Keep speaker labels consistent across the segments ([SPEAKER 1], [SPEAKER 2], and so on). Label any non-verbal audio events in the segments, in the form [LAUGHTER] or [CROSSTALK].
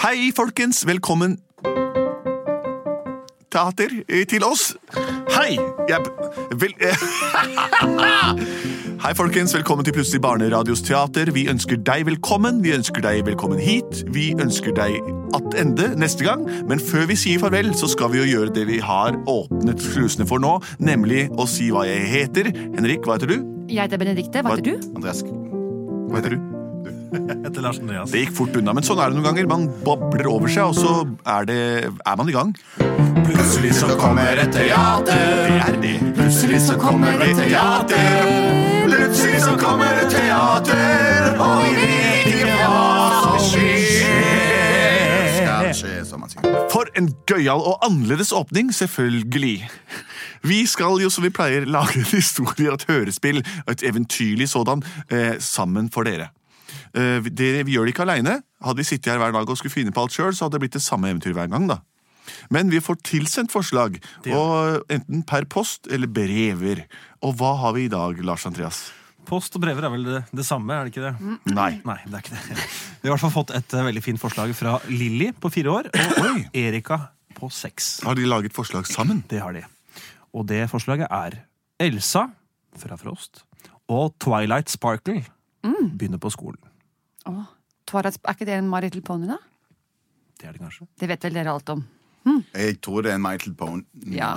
[SPEAKER 1] Hei, folkens. Velkommen Teater eh, til oss. Hei! Jeg Vel... [LAUGHS] Hei, folkens. Velkommen til Plutselig barneradios teater. Vi ønsker deg velkommen. Vi ønsker deg velkommen hit. Vi ønsker deg attende neste gang. Men før vi sier farvel, så skal vi jo gjøre det vi har åpnet slusene for nå, nemlig å si hva jeg heter. Henrik, hva heter du?
[SPEAKER 2] Jeg heter Benedikte. Hva heter du?
[SPEAKER 3] Andreas.
[SPEAKER 1] Hva heter du?
[SPEAKER 3] [LAUGHS]
[SPEAKER 4] Etter Lars Andreas.
[SPEAKER 1] Det gikk fort unna, men sånn er det noen ganger. Man babler over seg, og så er, det, er man i gang.
[SPEAKER 3] Plutselig så kommer et
[SPEAKER 1] Det
[SPEAKER 3] teater.
[SPEAKER 1] er det.
[SPEAKER 3] Plutselig så kommer et teater. Plutselig så kommer et teater, og vi vet ikke hva som skjer. Skal skje, som man sier.
[SPEAKER 1] For en gøyal og annerledes åpning, selvfølgelig. Vi skal jo som vi pleier lage en historie og et hørespill, og et eventyrlig sådan, eh, sammen for dere. Eh, vi- dere. Vi gjør det ikke aleine. Hadde vi sittet her hver dag og skulle finne på alt sjøl, så hadde det blitt det samme eventyret hver gang, da. Men vi får tilsendt forslag, og enten per post eller brever. Og hva har vi i dag, Lars Andreas?
[SPEAKER 4] Post og brever er vel det, det samme, er det ikke det?
[SPEAKER 1] Nei.
[SPEAKER 4] Nei, det er ikke det. Vi har i hvert fall fått et eh, veldig fint forslag fra Lilly på fire år og
[SPEAKER 1] Oi.
[SPEAKER 4] Erika på seks.
[SPEAKER 1] Har de laget forslag sammen?
[SPEAKER 4] Det har de. Og det forslaget er Elsa fra Frost og Twilight Sparkle begynner på skolen.
[SPEAKER 2] Åh, Twilight, er ikke det en My Little Pony, da?
[SPEAKER 4] Det er det kanskje.
[SPEAKER 2] Det vet vel dere alt om.
[SPEAKER 3] Jeg tror det er en Michael Pone.
[SPEAKER 2] Ja.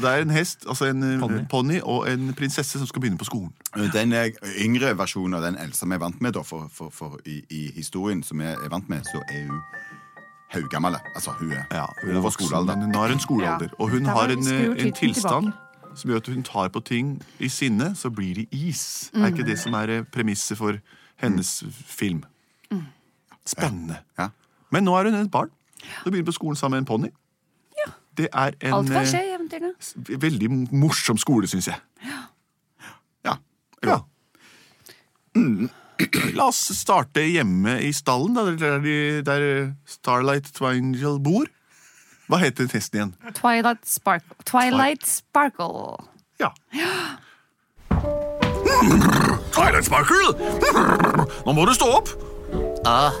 [SPEAKER 1] Det er en hest, altså
[SPEAKER 4] Pony.
[SPEAKER 1] en ponni og en prinsesse som skal begynne på skolen.
[SPEAKER 3] Den eh, yngre versjonen av den Elsa vi er vant med, da, for, for, for i, i historien som vi er vant med, så er hun haugammel. Altså, hun er,
[SPEAKER 1] Ja,
[SPEAKER 3] hun er på
[SPEAKER 1] voksen,
[SPEAKER 3] skolealder.
[SPEAKER 1] men Hun har en skolealder,
[SPEAKER 2] Ja.
[SPEAKER 1] og hun
[SPEAKER 2] Der
[SPEAKER 1] har
[SPEAKER 2] var-
[SPEAKER 1] en,
[SPEAKER 2] skrur
[SPEAKER 1] eh, en
[SPEAKER 2] tiden
[SPEAKER 1] tilstand
[SPEAKER 2] tilbake.
[SPEAKER 1] som gjør at hun tar på ting i sinne, så blir det is. Er ikke det som er eh, premisset for hennes film? Spennende.
[SPEAKER 3] Ja.
[SPEAKER 1] Men nå er hun et barn. Hun begynner på skolen sammen med en ponni. Det er en
[SPEAKER 2] Alt kan skje
[SPEAKER 1] eh,
[SPEAKER 2] i eventyrene.
[SPEAKER 1] s- veldig morsom skole, syns jeg.
[SPEAKER 3] Ja.
[SPEAKER 1] Ja. Mm. [CLEARS THROAT] La oss starte hjemme i stallen, da, der, de- der Starlight Twangel bor. Hva heter testen igjen?
[SPEAKER 2] Twilight, spark Twilight Sparkle.
[SPEAKER 1] Ja. Twilight Sparkle! Nå må du stå opp!
[SPEAKER 5] Ah,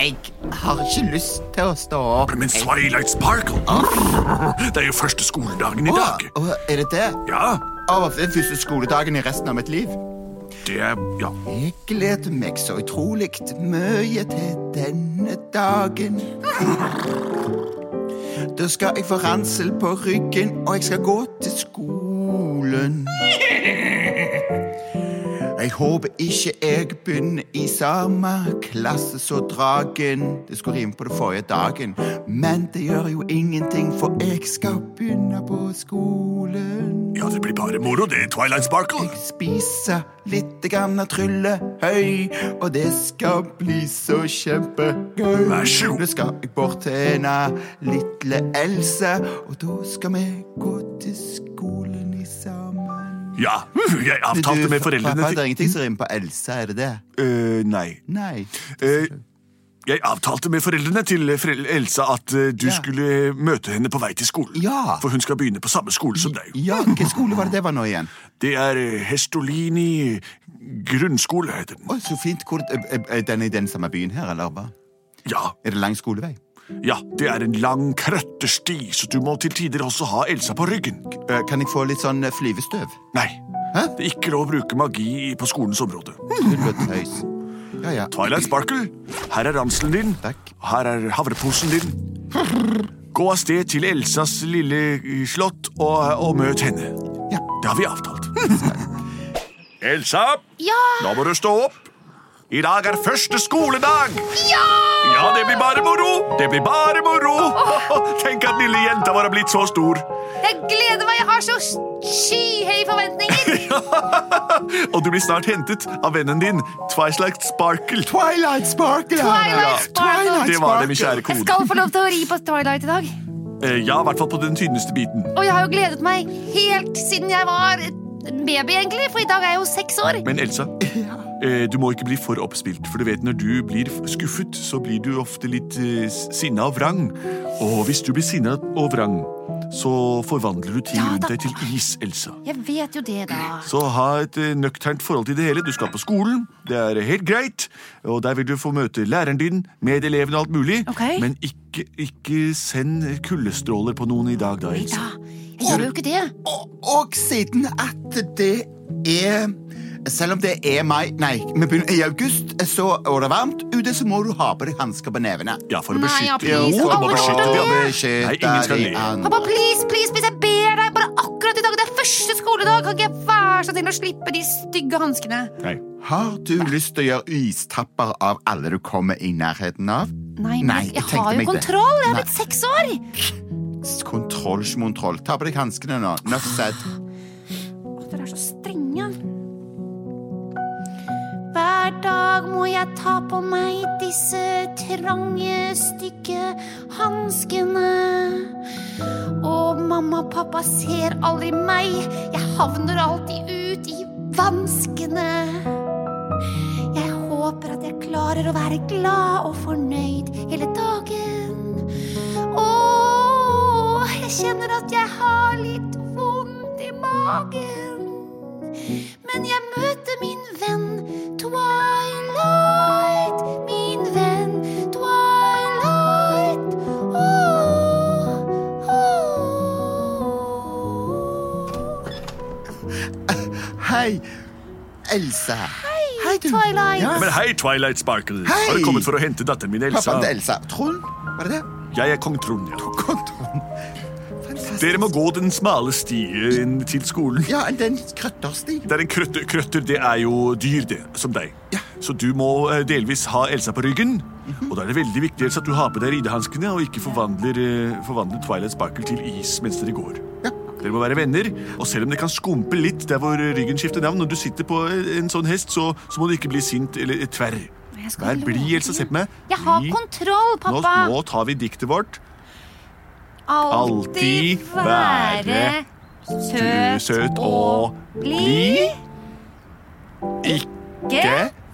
[SPEAKER 5] jeg har ikke lyst til å stå opp.
[SPEAKER 1] Men Twilight Sparkle ah. Det er jo første skoledagen i dag.
[SPEAKER 3] Å, er det det?
[SPEAKER 1] Ja,
[SPEAKER 3] Av og til første skoledagen i resten av mitt liv.
[SPEAKER 1] det er Ja.
[SPEAKER 3] Jeg gleder meg så utrolig mye til denne dagen. Da skal jeg få ransel på ryggen, og jeg skal gå til skolen. Jeg håper ikke jeg begynner i samme klasse som dragen. Det skulle rime på det forrige dagen, men det gjør jo ingenting, for jeg skal begynne på skolen.
[SPEAKER 1] ja, det blir bare moro, det, Twilight Sparkle.
[SPEAKER 3] Jeg spiser litt grann av tryllehøy, og det skal bli så kjempegøy.
[SPEAKER 1] Vær så god.
[SPEAKER 3] Nå skal jeg bort til henne, lille Else, og da skal vi gå til skolen i sammen.
[SPEAKER 1] Ja, jeg
[SPEAKER 3] Du,
[SPEAKER 1] avtalte med
[SPEAKER 3] Pappa,
[SPEAKER 1] foreldrene
[SPEAKER 3] det
[SPEAKER 1] til
[SPEAKER 3] er ingenting som rimer på Else, er det det?
[SPEAKER 1] Øh, Nei.
[SPEAKER 3] Nei.
[SPEAKER 1] Eh, jeg avtalte med foreldrene til forel Elsa at eh, du
[SPEAKER 3] Ja.
[SPEAKER 1] skulle møte henne på vei til skolen.
[SPEAKER 3] Ja.
[SPEAKER 1] For hun skal begynne på samme skole som deg.
[SPEAKER 3] Ja, hvilken skole var det det var nå igjen?
[SPEAKER 1] Det er eh, Hestolini grunnskole, heter den.
[SPEAKER 3] Å, så fint. Hvor, er- er den i den samme byen her, eller hva?
[SPEAKER 1] Ja,
[SPEAKER 3] Er det lang skolevei?
[SPEAKER 1] ja, det er en lang krøttersti, så du må til tider også ha Elsa på ryggen.
[SPEAKER 3] Eh, Kan jeg få litt sånn eh, flyvestøv?
[SPEAKER 1] Nei,
[SPEAKER 3] Hæ?
[SPEAKER 1] det er ikke lov å bruke magi på skolens område.
[SPEAKER 3] Tull og tøys. Ja, ja.
[SPEAKER 1] Twilight Sparkle, her er ranselen din.
[SPEAKER 3] Takk.
[SPEAKER 1] Her er havreposen din. Gå av sted til Elsas lille eh, slott og, og møt henne.
[SPEAKER 3] Ja.
[SPEAKER 1] Det har vi avtalt. [LAUGHS] Elsa,
[SPEAKER 2] Ja!
[SPEAKER 1] nå må du stå opp. I dag er første skoledag. Ja, det blir bare moro. Det blir bare moro. Tenk at lille jenta vår er blitt så stor.
[SPEAKER 2] Jeg gleder meg! Jeg har så skyhøye
[SPEAKER 1] [LAUGHS]
[SPEAKER 2] forventninger!
[SPEAKER 1] Og du blir snart hentet av vennen din, Twilight Sparkle.
[SPEAKER 3] Twilight Sparkle!
[SPEAKER 2] Twilight Sparkle.
[SPEAKER 1] Det var det, min kjære
[SPEAKER 2] Jeg
[SPEAKER 1] kone.
[SPEAKER 2] skal få lov til å ri på Twilight i dag.
[SPEAKER 1] Eh, Ja, i hvert fall på den tynneste biten.
[SPEAKER 2] Og jeg har jo gledet meg helt siden jeg var baby, egentlig. For i dag er jeg jo seks år.
[SPEAKER 1] Men
[SPEAKER 2] [LAUGHS]
[SPEAKER 1] Elsa, eh, du må ikke bli for oppspilt, for du vet når du blir skuffet, så blir du ofte litt eh, s- sinna og vrang. Og hvis du blir sinna og vrang, så forvandler du ting
[SPEAKER 2] Ja,
[SPEAKER 1] rundt
[SPEAKER 2] da-
[SPEAKER 1] deg til is, Elsa.
[SPEAKER 2] Jeg vet jo det, da.
[SPEAKER 1] Så ha et eh, nøkternt forhold til det hele. Du skal på skolen, det er helt greit. Og der vil du få møte læreren din, medelevene og alt mulig.
[SPEAKER 2] Ok.
[SPEAKER 1] Men ikke, ikke send kuldestråler på noen i dag, da, Elsa.
[SPEAKER 2] Ja, jeg gjør jo ikke det.
[SPEAKER 3] Og, og siden at det er Selv om det er mai Nei, vi begynner i august, så, og det er varmt ute, så må du ha på deg hansker på nevene.
[SPEAKER 1] Ja, for å
[SPEAKER 2] Nei, ja,
[SPEAKER 1] beskytte
[SPEAKER 2] please,
[SPEAKER 1] Jo, du må
[SPEAKER 2] alle
[SPEAKER 1] beskytte
[SPEAKER 2] skal
[SPEAKER 1] de
[SPEAKER 2] le.
[SPEAKER 1] andre.
[SPEAKER 3] Beskytt
[SPEAKER 1] Nei, ingen skal
[SPEAKER 3] deg
[SPEAKER 1] le.
[SPEAKER 3] an-
[SPEAKER 2] Pappa, please, please, please, jeg ber deg bare akkurat i dag. Det er første skoledag. Kan ikke jeg være så snill å slippe de stygge hanskene?
[SPEAKER 1] Nei.
[SPEAKER 3] Har du lyst til å gjøre istapper av alle du kommer i nærheten av?
[SPEAKER 2] Nei, men
[SPEAKER 3] Nei,
[SPEAKER 2] jeg,
[SPEAKER 3] jeg
[SPEAKER 2] jeg
[SPEAKER 3] tenkte
[SPEAKER 2] har jo
[SPEAKER 3] meg det.
[SPEAKER 2] kontroll. Jeg har
[SPEAKER 3] Nei.
[SPEAKER 2] blitt seks år.
[SPEAKER 3] Kontroll, smontroll. Ta på deg hanskene nå. Nuff said.
[SPEAKER 2] Å, Dere er så strenge. Hver dag må jeg ta på meg disse trange, stygge hanskene. Og mamma og pappa ser aldri meg. Jeg havner alltid ut i vanskene. Jeg håper at jeg klarer å være glad og fornøyd hele dagen. Åh, jeg kjenner at jeg har litt vondt i magen. Men jeg møter min venn Twilight. Min venn Twilight. Åh, åh.
[SPEAKER 3] Hei, Elsa. Hei, du.
[SPEAKER 2] Twilight.
[SPEAKER 3] Ja.
[SPEAKER 1] Men hei, Twilight Sparkle.
[SPEAKER 3] Hei!
[SPEAKER 1] Har du kommet for å hente datteren min, Elsa?
[SPEAKER 3] Pappaen til Elsa. Trond, var det det?
[SPEAKER 1] Jeg er kong Trond. ja.
[SPEAKER 3] Kontroll. Fantastisk.
[SPEAKER 1] Dere må gå den smale stien til skolen.
[SPEAKER 3] Ja, den krøttersti.
[SPEAKER 1] Det er en krøtter, krøtter, det er jo dyr, det, som deg.
[SPEAKER 3] Ja. Mhm.
[SPEAKER 1] Så du må eh, delvis ha Elsa på ryggen. Og da er det veldig viktig Elsa, at du har på deg ridehanskene og ikke forvandler, eh, forvandler Twilight Sparkle til is mens dere går.
[SPEAKER 3] Ja.
[SPEAKER 1] Dere må være venner, og selv om det kan skumpe litt der hvor ryggen skifter navn, når du sitter på en sånn hest, så, så må du ikke bli sint eller eh, tverr.
[SPEAKER 2] Jeg skal
[SPEAKER 1] Vær
[SPEAKER 2] love
[SPEAKER 1] blid, Elsa. Se på meg.
[SPEAKER 2] Jeg har
[SPEAKER 1] Bli.
[SPEAKER 2] kontroll,
[SPEAKER 1] Nå,
[SPEAKER 2] pappa.
[SPEAKER 1] nå tar vi diktet vårt.
[SPEAKER 2] Alltid
[SPEAKER 1] alltid
[SPEAKER 2] være søt,
[SPEAKER 1] Søt og blid. Ikke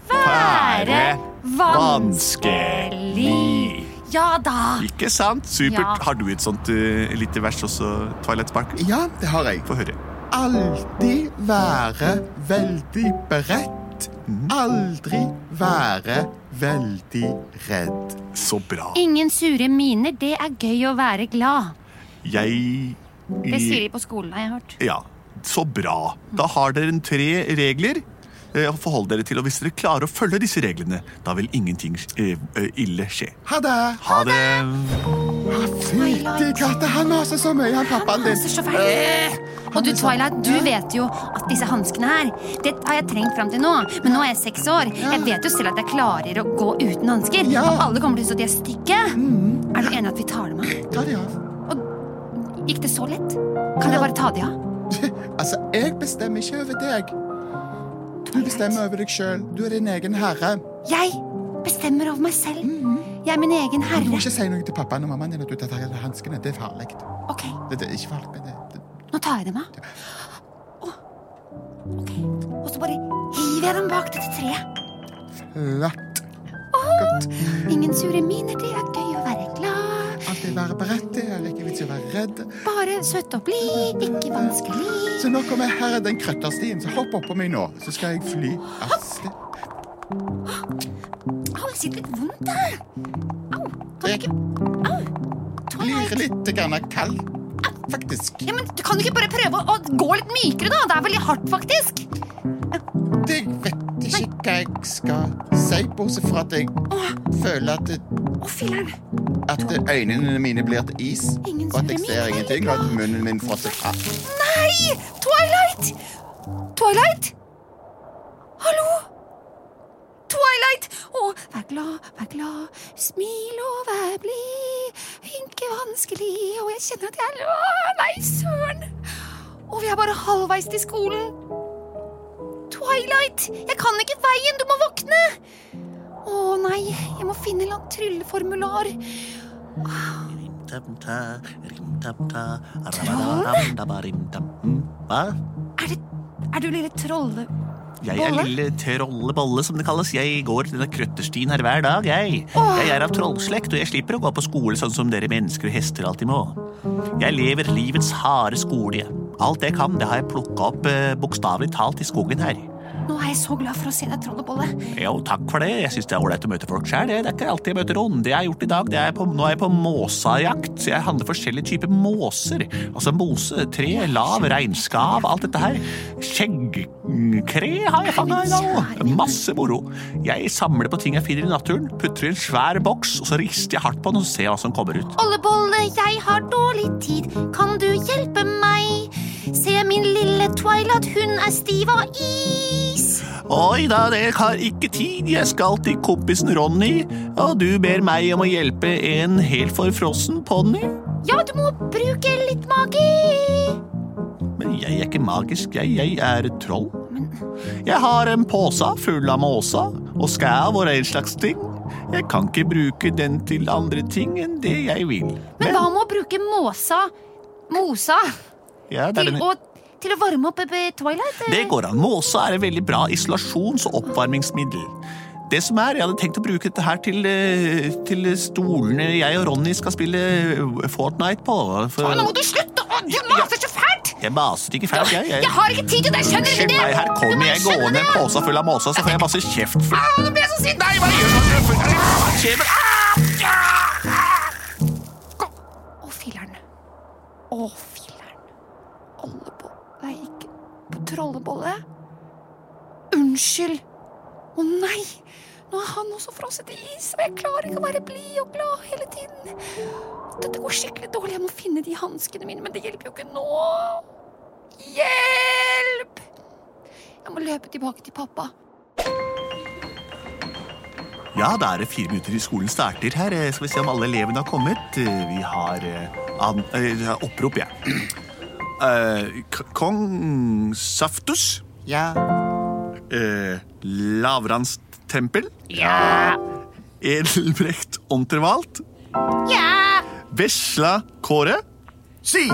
[SPEAKER 1] være vanskelig.
[SPEAKER 2] Ja da.
[SPEAKER 1] Ikke sant? Supert.
[SPEAKER 2] Ja.
[SPEAKER 1] Har du et sånt eh, lite vers også, Twilight Sparkle?
[SPEAKER 3] Ja, det har jeg.
[SPEAKER 1] Få høre.
[SPEAKER 3] Alltid være veldig beredt. Aldri være veldig redd.
[SPEAKER 1] Så bra.
[SPEAKER 2] Ingen sure miner, det er gøy å være glad.
[SPEAKER 1] Jeg
[SPEAKER 2] Det sier de på skolen, har jeg hørt.
[SPEAKER 1] Ja, så bra. Da har dere en tre regler eh, å forholde dere til. Og hvis dere klarer å følge disse reglene, da vil ingenting eh, eh, ille skje.
[SPEAKER 3] Ha det!
[SPEAKER 2] Oh
[SPEAKER 1] Ha det!
[SPEAKER 3] Fytti katta, han maser så Eh, mye, han pappaen
[SPEAKER 2] Han
[SPEAKER 3] din.
[SPEAKER 2] ser så fæl ut. Og du, Twilight, du vet jo at disse hanskene her Det har jeg trengt fram til nå. Men nå er jeg seks år. Jeg vet jo selv at jeg klarer å gå uten hansker.
[SPEAKER 3] Ja. Mm.
[SPEAKER 2] Og alle kommer til å synes at de er stygge. Er du enig i at vi tar dem av?
[SPEAKER 3] Ta de av.
[SPEAKER 2] Gikk det så lett? Kan jeg bare ta de av?
[SPEAKER 3] Altså, jeg bestemmer ikke over deg. Du bestemmer over deg sjøl. Du er din egen herre.
[SPEAKER 2] Jeg bestemmer over meg selv. Jeg er min egen
[SPEAKER 3] Mm. Du må
[SPEAKER 2] herre.
[SPEAKER 3] ikke si noe til pappaen og mammaen din at du tar alle hanskene. Det er farlig.
[SPEAKER 2] Ok,
[SPEAKER 3] Det, det er ikke farlig, men det, det
[SPEAKER 2] nå tar jeg dem av. Åh, Ok, Og så bare hiver jeg dem bak dette treet.
[SPEAKER 3] Flatt.
[SPEAKER 2] Ingen sure miner, det er gøy å være glad.
[SPEAKER 3] Alltid være beredt. Det er ikke vits i å være redd.
[SPEAKER 2] Bare søt og blid, ikke vanskelig.
[SPEAKER 3] Så nå kommer jeg her er den krøtterstien, så hopp oppå meg nå, så skal jeg fly av sted.
[SPEAKER 2] Au, jeg sitter litt vondt der. Au, kan du ikke Au,
[SPEAKER 3] Blir
[SPEAKER 2] Twilight.
[SPEAKER 3] litt grann kald, faktisk.
[SPEAKER 2] Ja, men du kan du ikke bare prøve å å gå litt mykere, da? Det er veldig hardt, faktisk.
[SPEAKER 3] Jeg vet ikke hva jeg skal si, bortsett fra at jeg føler at, det,
[SPEAKER 2] Å, filler'n.
[SPEAKER 3] at det øynene mine blir til is,
[SPEAKER 2] Ingen
[SPEAKER 3] og at jeg
[SPEAKER 2] ser
[SPEAKER 3] ser
[SPEAKER 2] meg.
[SPEAKER 3] ingenting, og at munnen min frosser fra.
[SPEAKER 2] Nei! Twilight! Twilight? Hallo? Twilight! Å, vær glad, vær glad. Smil og vær blid. Ikke vanskelig, og jeg kjenner at jeg Å, Nei, søren! Og vi er bare halvveis til skolen. Twilight, jeg kan ikke veien, du må våkne! Å nei, jeg må finne en eller annen trylleformular.
[SPEAKER 5] Trollene? hm,
[SPEAKER 2] Er det Er du lille trolle...
[SPEAKER 5] Jeg
[SPEAKER 2] Bolle?
[SPEAKER 5] er lille trollebolle, som det kalles. Jeg går denne krøtterstien her hver dag, jeg.
[SPEAKER 2] Åh.
[SPEAKER 5] Jeg er av trollslekt, og jeg slipper å gå på skole sånn som dere mennesker og hester alltid må. Jeg lever livets harde skole, jeg. Alt jeg kan, det har jeg plukka opp eh, bokstavelig talt i skogen her.
[SPEAKER 2] Nå er jeg så glad for å se deg, Trollebolle.
[SPEAKER 5] Jo, takk for det. Jeg syns det er ålreit å møte folk sjøl. Det er ikke alltid jeg møter ånd. Det jeg har gjort i dag, det er på, nå er jeg på måsajakt. Jeg handler forskjellige typer måser. Altså mose, tre, lav, reinskav, alt dette her. Skjeggkre har jeg fanga i dag òg. Masse moro. Jeg samler på ting jeg finner i naturen, putter i en svær boks, og så rister jeg hardt på den og ser hva som kommer ut.
[SPEAKER 6] Ollebolle, jeg har dårlig tid, kan du hjelpe meg? Se min lille Twilight, hun er stiv av is.
[SPEAKER 5] Oi da, det har ikke tid. Jeg skal til kompisen Ronny, og du ber meg om å hjelpe en helt forfrossen ponni.
[SPEAKER 6] Ja, du må bruke litt magi.
[SPEAKER 5] Men jeg er ikke magisk, jeg, jeg er et troll. Jeg har en pose full av måsa og skæv og den slags ting. Jeg kan ikke bruke den til andre ting enn det jeg vil.
[SPEAKER 2] Men hva med å bruke måsa, mosa,
[SPEAKER 5] Ja, det, er
[SPEAKER 2] til,
[SPEAKER 5] den-
[SPEAKER 2] å, til å varme opp eh, Twilight? eh?
[SPEAKER 5] det går an. Måsa er et veldig bra isolasjons- og oppvarmingsmiddel. Det som er, Jeg hadde tenkt å bruke dette her til, eh, til stolene jeg og Ronny skal spille eh, Fortnite på. For
[SPEAKER 2] Å, nå må du slutte! Å, du maser så fælt!
[SPEAKER 5] jeg maset ikke feil, jeg. jeg.
[SPEAKER 2] Jeg har ikke tid til det! Skjønner du
[SPEAKER 5] Eh, Unnskyld
[SPEAKER 2] ikke det?
[SPEAKER 5] meg, her
[SPEAKER 2] Du må
[SPEAKER 5] kommer jeg
[SPEAKER 2] skjønne
[SPEAKER 5] gående
[SPEAKER 2] det!
[SPEAKER 5] en pose full av måsa, så får jeg masse kjeft. for-
[SPEAKER 2] Å, Nå blir jeg så sint! Nei, hva gjør
[SPEAKER 5] Hva skjer med
[SPEAKER 2] Å, filler'n. Å, filler'n. Ollebolle Nei, ikke på trollebolle. Unnskyld. Å nei! Nå er han også frosset i is, og jeg klarer ikke å være blid og glad hele tiden. Dette går skikkelig dårlig. Jeg må finne de hanskene mine, men det hjelper jo ikke nå. Hjelp! Jeg må løpe tilbake til pappa.
[SPEAKER 5] Ja, da er det fire minutter til skolen starter her. Eh, Skal vi se om alle elevene har kommet. Eh, Vi har eh, an, eh, vi har opprop, jeg. [CLEARS THROAT] Eh, k- Kong Saftus.
[SPEAKER 7] Ja.
[SPEAKER 5] Eh, Lavrandstempel.
[SPEAKER 6] Ja.
[SPEAKER 5] Edelbrekt Ontervalt.
[SPEAKER 6] Ja.
[SPEAKER 5] Vesla Kåre.
[SPEAKER 7] Si!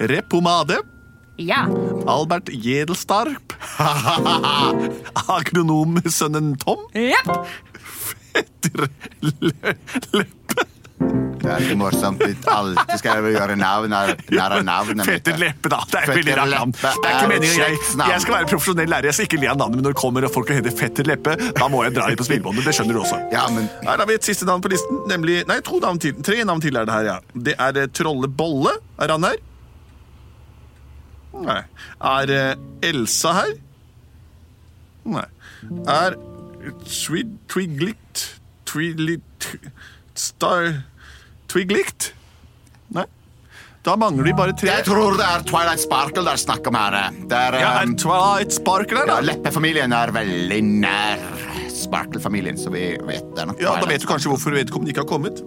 [SPEAKER 5] Repomade.
[SPEAKER 6] Ja.
[SPEAKER 5] Albert Jedelstarp. [LAUGHS] Agronomsønnen Tom. Petter Lø- Leppe.
[SPEAKER 3] Det er litt morsomt. Litt alltid skal jeg vel gjøre navn av nær av navnet mitt.
[SPEAKER 5] Petter Leppe, da. Det er et
[SPEAKER 3] Petter
[SPEAKER 5] veldig rart navn.
[SPEAKER 3] Leppe
[SPEAKER 5] Det er ikke
[SPEAKER 3] er
[SPEAKER 5] meningen jeg,
[SPEAKER 3] slektsnavn.
[SPEAKER 5] jeg skal være profesjonell lærer, jeg skal ikke le av navnet, men når det kommer folk og heter Fetter Leppe, da må jeg dra litt på smilebåndet. Det skjønner du også.
[SPEAKER 3] Ja, men-
[SPEAKER 5] Her har vi et siste navn på listen, nemlig Nei, to navn til. Tre navn til er det her, ja. Det er eh, Trolle Bolle. Er han her? Nei. Er eh, Elsa her? Nei. Er Twid... Twiglikt Twilit... Star... Twiglikt? Nei. Da mangler de bare tre.
[SPEAKER 3] Jeg tror det er Twilight Sparkle det er snakk om her. Det er,
[SPEAKER 5] Ja,
[SPEAKER 3] eh,
[SPEAKER 5] er Twilight Sparkle her,
[SPEAKER 3] ja,
[SPEAKER 5] da?
[SPEAKER 3] Leppe-familien er veldig nær Sparkle-familien, så vi vet det er nok
[SPEAKER 5] Ja, Da
[SPEAKER 3] Twilight
[SPEAKER 5] vet du kanskje hvorfor vedkommende ikke har kommet.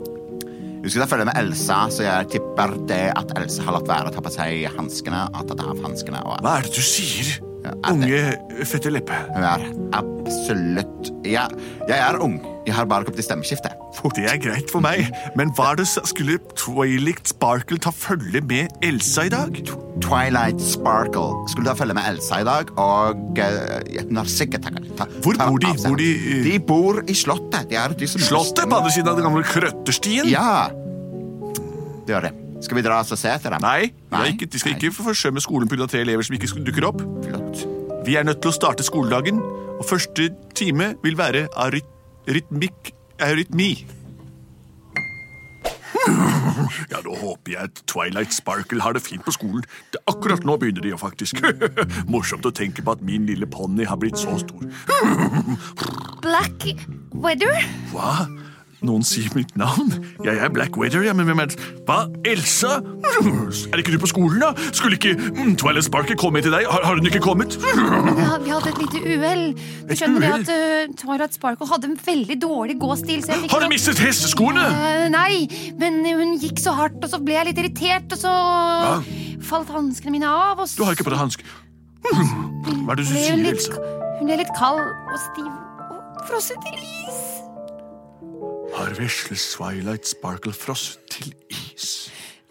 [SPEAKER 3] Husk at jeg følger med Elsa, så jeg tipper det at Elsa har latt være å ta på seg hanskene. Og tatt av hanskene. Og
[SPEAKER 5] Hva er det du sier,
[SPEAKER 3] er
[SPEAKER 5] unge fette leppe?
[SPEAKER 3] hun er absolutt jeg, jeg er ung. Jeg har bare kommet i stemmeskiftet.
[SPEAKER 5] Det er greit for meg, men hva er det s- skulle Twilight Sparkle ta følge med Elsa i dag?
[SPEAKER 3] Twilight Sparkle skulle da følge med Elsa i dag, og eh, hun har sikkert takka ta,
[SPEAKER 5] Hvor
[SPEAKER 3] tar
[SPEAKER 5] bor de?
[SPEAKER 3] av seg-
[SPEAKER 5] Bor de, eh,
[SPEAKER 3] de bor i Slottet. De er de som
[SPEAKER 5] Slottet på andre siden av den gamle krøtterstien?
[SPEAKER 3] Ja. Det gjør det. Skal vi dra oss og se etter dem?
[SPEAKER 5] Nei, vi har
[SPEAKER 3] Nei?
[SPEAKER 5] ikke, de skal ikke forsømme skolen pga. tre elever som ikke sk- dukker opp.
[SPEAKER 3] Nei, flott.
[SPEAKER 5] Vi er nødt til å starte skoledagen, og første time vil være aryt, rytmikk eurytmi. Ja, Da håper jeg at Twilight Sparkle har det fint på skolen. Det er akkurat nå begynner de jo faktisk. [LAUGHS] Morsomt å tenke på at min lille ponni har blitt så stor.
[SPEAKER 6] Black weather.
[SPEAKER 5] Hva? Noen sier mitt navn? Jeg er Black Weather, ja, men hvem er det? Hva? Elsa? Er ikke du på skolen, da? Skulle ikke mm, Twilight Sparkle komme til deg? Har, har hun ikke kommet?
[SPEAKER 2] Vi hadde, vi hadde et lite uhell. Du
[SPEAKER 5] Et
[SPEAKER 2] skjønner det
[SPEAKER 5] uhell?
[SPEAKER 2] at uh, Twilight Sparkle hadde en veldig dårlig gåstil. Så jeg fikk
[SPEAKER 5] Har
[SPEAKER 2] noe-
[SPEAKER 5] hun mistet hesteskoene?
[SPEAKER 2] Eh, nei, men hun gikk så hardt, og så ble jeg litt irritert, og så falt hanskene mine av. Og så
[SPEAKER 5] Du har ikke på deg hansk. Hm. Hva er
[SPEAKER 2] ble
[SPEAKER 5] det du
[SPEAKER 2] hun,
[SPEAKER 5] sier,
[SPEAKER 2] litt,
[SPEAKER 5] Elsa?
[SPEAKER 2] hun ble litt kald og stiv og frosset til is.
[SPEAKER 5] Har vesle Twilight Sparkle frosset til is?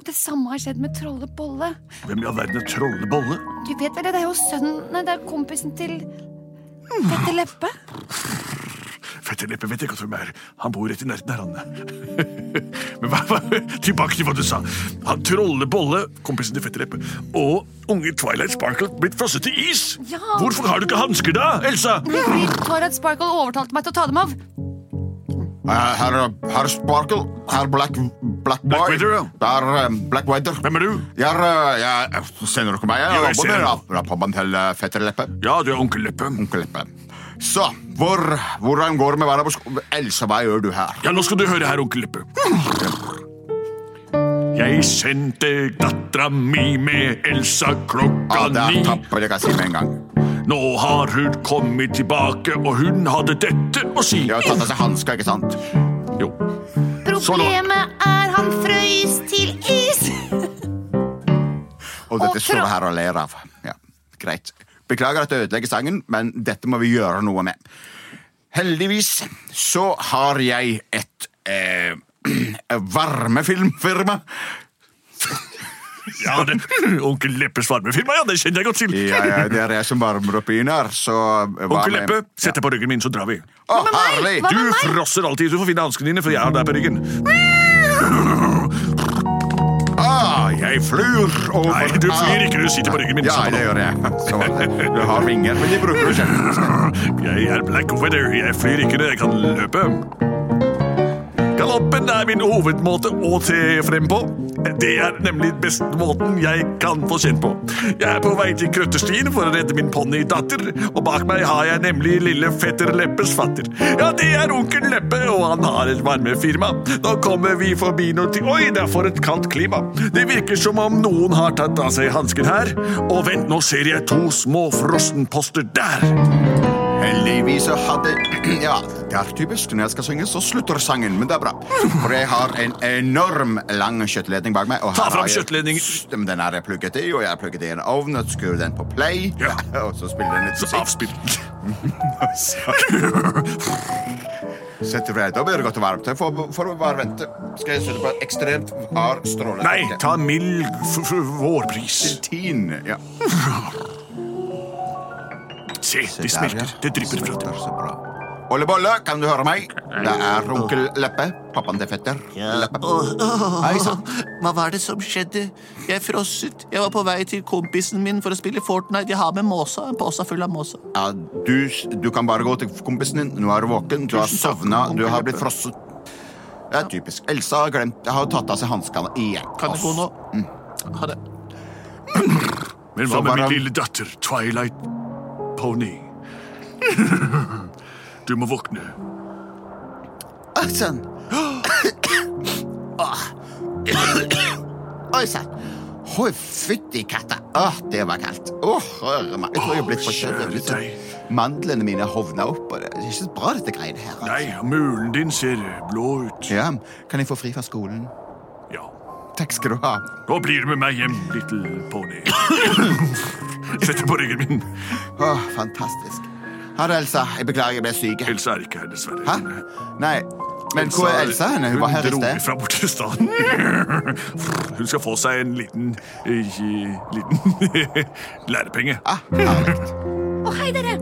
[SPEAKER 2] Og det samme har skjedd med Trolle Bolle.
[SPEAKER 5] Hvem i all verden er Trollebolle?
[SPEAKER 2] Du vet vel det, det er jo sønnen Nei, det er kompisen til
[SPEAKER 5] Hm.
[SPEAKER 2] Fette leppe.
[SPEAKER 1] Fetterleppe vet ikke at hvem er. Han bor rett i nærheten her, han. [LAUGHS] Men hva, hva, tilbake til hva du sa. Han troller Bolle, kompisen til Fetterleppe, og unge Twilight Sparkle blitt frosset til is.
[SPEAKER 2] Ja.
[SPEAKER 1] Hvorfor har du ikke hansker da, Elsa?
[SPEAKER 2] Fordi Twilight Sparkle overtalte meg til å ta dem av.
[SPEAKER 3] Herr her Sparkle, herr Black, Black Boy.
[SPEAKER 1] Black Widow, ja.
[SPEAKER 3] Der, eh, Black Wider.
[SPEAKER 1] Hvem er du?
[SPEAKER 3] Jeg, er, eh, jeg sender dere meg. Jeg
[SPEAKER 1] Jo, jeg
[SPEAKER 3] er
[SPEAKER 1] ser
[SPEAKER 3] abonner av rappaban til eh, fetter Leppe.
[SPEAKER 1] Ja, du er onkel Leppe.
[SPEAKER 3] Onkel Leppe. Så, hvor, hvordan går det med været på skolen? Elsa, hva gjør du her?
[SPEAKER 1] Ja, nå skal du høre her, onkel Leppe. Jeg sendte dattera mi med Elsa klokka
[SPEAKER 3] Ja, det
[SPEAKER 1] ni.
[SPEAKER 3] er tapper, det kan jeg si med en gang.
[SPEAKER 1] Nå har hun kommet tilbake, og hun hadde dette å si.
[SPEAKER 3] De har tatt av seg hanska, ikke sant?
[SPEAKER 1] Jo.
[SPEAKER 8] Problemet er han frøys til is.
[SPEAKER 3] Og dette
[SPEAKER 2] Og
[SPEAKER 3] står
[SPEAKER 2] fra-
[SPEAKER 3] vi her og ler av. Ja, greit. Beklager at jeg ødelegger sangen, men dette må vi gjøre noe med. Heldigvis så har jeg et eh, [CLEARS THROAT] varmefilmfirma.
[SPEAKER 1] Ja, det,
[SPEAKER 5] [LAUGHS]
[SPEAKER 1] onkel Leppes varmefirma, ja, det kjenner jeg godt til.
[SPEAKER 3] Ja, ja, det er jeg som varmer opp byen her, så hva
[SPEAKER 1] Onkel
[SPEAKER 3] med-
[SPEAKER 1] Leppe, sett deg på ryggen min, så drar vi.
[SPEAKER 3] Å,
[SPEAKER 2] med meg?
[SPEAKER 3] herlig!
[SPEAKER 2] Hva
[SPEAKER 1] Du
[SPEAKER 2] med meg?
[SPEAKER 1] frosser alltid. Du får finne hanskene dine, for jeg har deg på ryggen.
[SPEAKER 3] Ah, jeg flyr over
[SPEAKER 1] Nei, du flyr ikke. Du sitter på ryggen min.
[SPEAKER 3] Ja,
[SPEAKER 1] samme
[SPEAKER 3] det
[SPEAKER 1] nå.
[SPEAKER 3] gjør jeg. Så var det. Du har vinger, men de bruker du ikke.
[SPEAKER 1] Jeg er Black Weather. Jeg flyr ikke, jeg kan løpe. Galoppen er min hovedmåte å se frem på. Det er nemlig beste måten jeg kan få kjent på. Jeg er på vei til krøtterstien for å redde min ponnidatter, og bak meg har jeg nemlig lille fetter Leppes fatter. Ja, det er onkel Leppe, og han har et varmefirma. Nå kommer vi forbi noe til Oi, det er for et kaldt klima. Det virker som om noen har tatt av seg hansken her. Og vent, nå ser jeg to små frossenposter der.
[SPEAKER 3] Heldigvis så hadde [CLEARS THROAT] Ja, det er typisk. Når jeg skal synge, så slutter sangen, men det er bra. For jeg har en enorm lang kjøttledning bak meg. Og
[SPEAKER 1] Ta
[SPEAKER 3] her
[SPEAKER 1] fram
[SPEAKER 3] har jeg-
[SPEAKER 1] kjøttledningen.
[SPEAKER 3] St- Men den er jeg plugget i, og jeg har plugget i en ovn, og skrur den på play,
[SPEAKER 1] Ja.
[SPEAKER 3] [LAUGHS] og så spiller den litt
[SPEAKER 1] Så
[SPEAKER 3] musikk.
[SPEAKER 1] avspilt.
[SPEAKER 3] [LAUGHS] Setter du deg, da blir det godt og varmt. Jeg får, får bare vente. Skal jeg sette på ekstremt hard stråle?
[SPEAKER 1] Nei,
[SPEAKER 3] Ok.
[SPEAKER 1] ta mild f f vårpris.
[SPEAKER 3] Tin, ja.
[SPEAKER 1] Se, det smelter. Det drypper fra det.
[SPEAKER 3] Så bra. Olle Bolle, kan du høre meg? Det er onkel Leppe, pappaen til fetter. Leppe. Hei sann.
[SPEAKER 5] Hva var det som skjedde? Jeg frosset. Jeg var på vei til kompisen min for å spille Fortnite. Jeg har med måsa. En pose full av måsa.
[SPEAKER 3] Ja, du, du kan bare gå til kompisen din. Nå er du våken, du har sovna, du har blitt frosset. Det er typisk. Elsa har glemt Jeg har tatt av seg hanskene igjen.
[SPEAKER 5] Kan jeg gå nå? Mm. Ha det.
[SPEAKER 1] Men hva
[SPEAKER 3] Så
[SPEAKER 1] med
[SPEAKER 3] var
[SPEAKER 1] min
[SPEAKER 3] han-
[SPEAKER 1] lille datter, Twilight
[SPEAKER 3] [LAUGHS]
[SPEAKER 1] Pony? Du må våkne.
[SPEAKER 5] Oi sann. Åh. Oi sann.
[SPEAKER 3] Hoi, fytti katta. Åh, det var kaldt. Åh, høre meg. Jeg tror jeg er blitt
[SPEAKER 1] Kjære deg.
[SPEAKER 3] forkjølet. Mandlene mine hovna opp. og Det det er ikke så bra, dette greiene her. altså.
[SPEAKER 1] Nei, mulen din ser blå ut.
[SPEAKER 3] Ja, kan jeg få fri fra skolen?
[SPEAKER 1] Ja.
[SPEAKER 3] Takk skal du ha.
[SPEAKER 1] Nå blir du med meg hjem, little
[SPEAKER 3] [COUGHS]
[SPEAKER 1] pony. Sett deg på ryggen min.
[SPEAKER 3] Åh, fantastisk. Ha det, Elsa. Jeg beklager, jeg ble syk.
[SPEAKER 1] Elsa er ikke her, dessverre.
[SPEAKER 3] Hæ? Nei, men hvor er Elsa henne? Hun var her i
[SPEAKER 1] Hun dro
[SPEAKER 3] sted.
[SPEAKER 1] fra borte i
[SPEAKER 3] [LAUGHS]
[SPEAKER 1] staden. Hun skal få seg en liten eh, liten [LAUGHS] lærepenge.
[SPEAKER 3] Ah, herlig.
[SPEAKER 2] Å, hei, dere.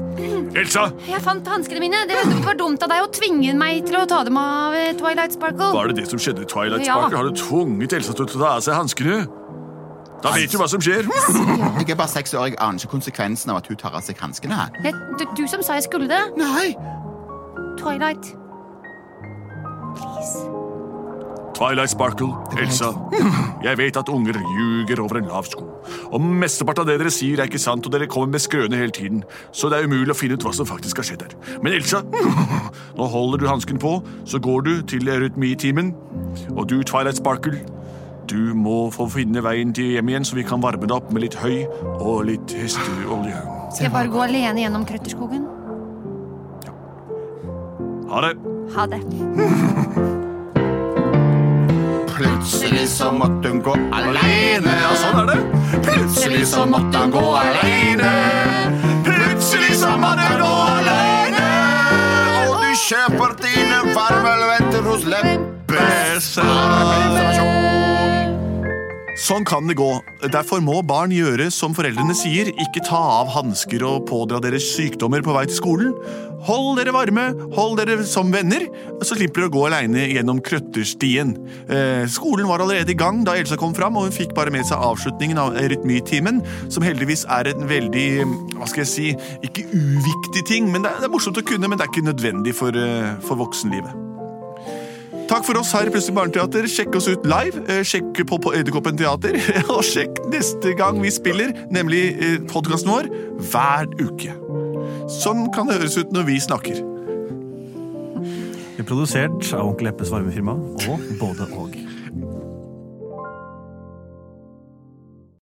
[SPEAKER 1] Elsa,
[SPEAKER 2] Jeg fant hanskene mine. Det var dumt av deg å tvinge meg til å ta dem av eh, Twilight Sparkle.
[SPEAKER 1] var det det som skjedde i Twilight
[SPEAKER 2] Ja.
[SPEAKER 1] Sparkle? Har du tvunget Elsa til å ta av seg hanskene? Da vet du hva som skjer.
[SPEAKER 3] Jeg er bare seks år, jeg aner ikke konsekvensen av at hun tar av seg hanskene. her.
[SPEAKER 2] Jeg, det er du som sa jeg skulle det.
[SPEAKER 3] Nei!
[SPEAKER 2] Twilight.
[SPEAKER 1] Twilight Sparkle, Elsa. [LAUGHS] Jeg vet at unger ljuger over en lav sko. Og mesteparten av det dere sier, er ikke sant, og dere kommer med skrøne hele tiden. Så det er umulig å finne ut hva som faktisk har skjedd her. Men Elsa, [LAUGHS] nå holder du hansken på, så går du til eurytmitimen. Og du, Twilight Sparkle, du må få finne veien til hjem igjen, så vi kan varme deg opp med litt høy og litt hesteolje.
[SPEAKER 2] Skal jeg bare gå alene gjennom krøtterskogen?
[SPEAKER 1] Ha det.
[SPEAKER 2] Ha det.
[SPEAKER 3] Plutselig så måtte hun gå alene.
[SPEAKER 1] Ja, sånn er det.
[SPEAKER 3] Plutselig så måtte han gå alene. Plutselig så måtte han gå alene. Og du kjøper dine varmelventer hos Leppe.
[SPEAKER 1] Bæsj. Sånn kan det gå. Derfor må barn gjøre som foreldrene sier. Ikke ta av hansker og pådra dere sykdommer på vei til skolen. Hold dere varme, hold dere som venner, så slipper dere å gå aleine gjennom krøtterstien. Eh, skolen var allerede i gang da Elsa kom fram, og hun fikk bare med seg avslutningen av rytmitimen, som heldigvis er en veldig hva skal jeg si, ikke uviktig ting. men Det er, det er morsomt å kunne, men det er ikke nødvendig for, eh, for voksenlivet. Takk for oss her i Plutselig barneteater. Sjekk oss ut live. eh, Sjekk på, på Edderkoppen teater. [LAUGHS] Og sjekk neste gang vi spiller, nemlig eh, podkasten vår, hver uke. Sånn kan det høres ut når vi snakker.
[SPEAKER 4] Vi er Produsert av Onkel Eppes varmefirma og Både og.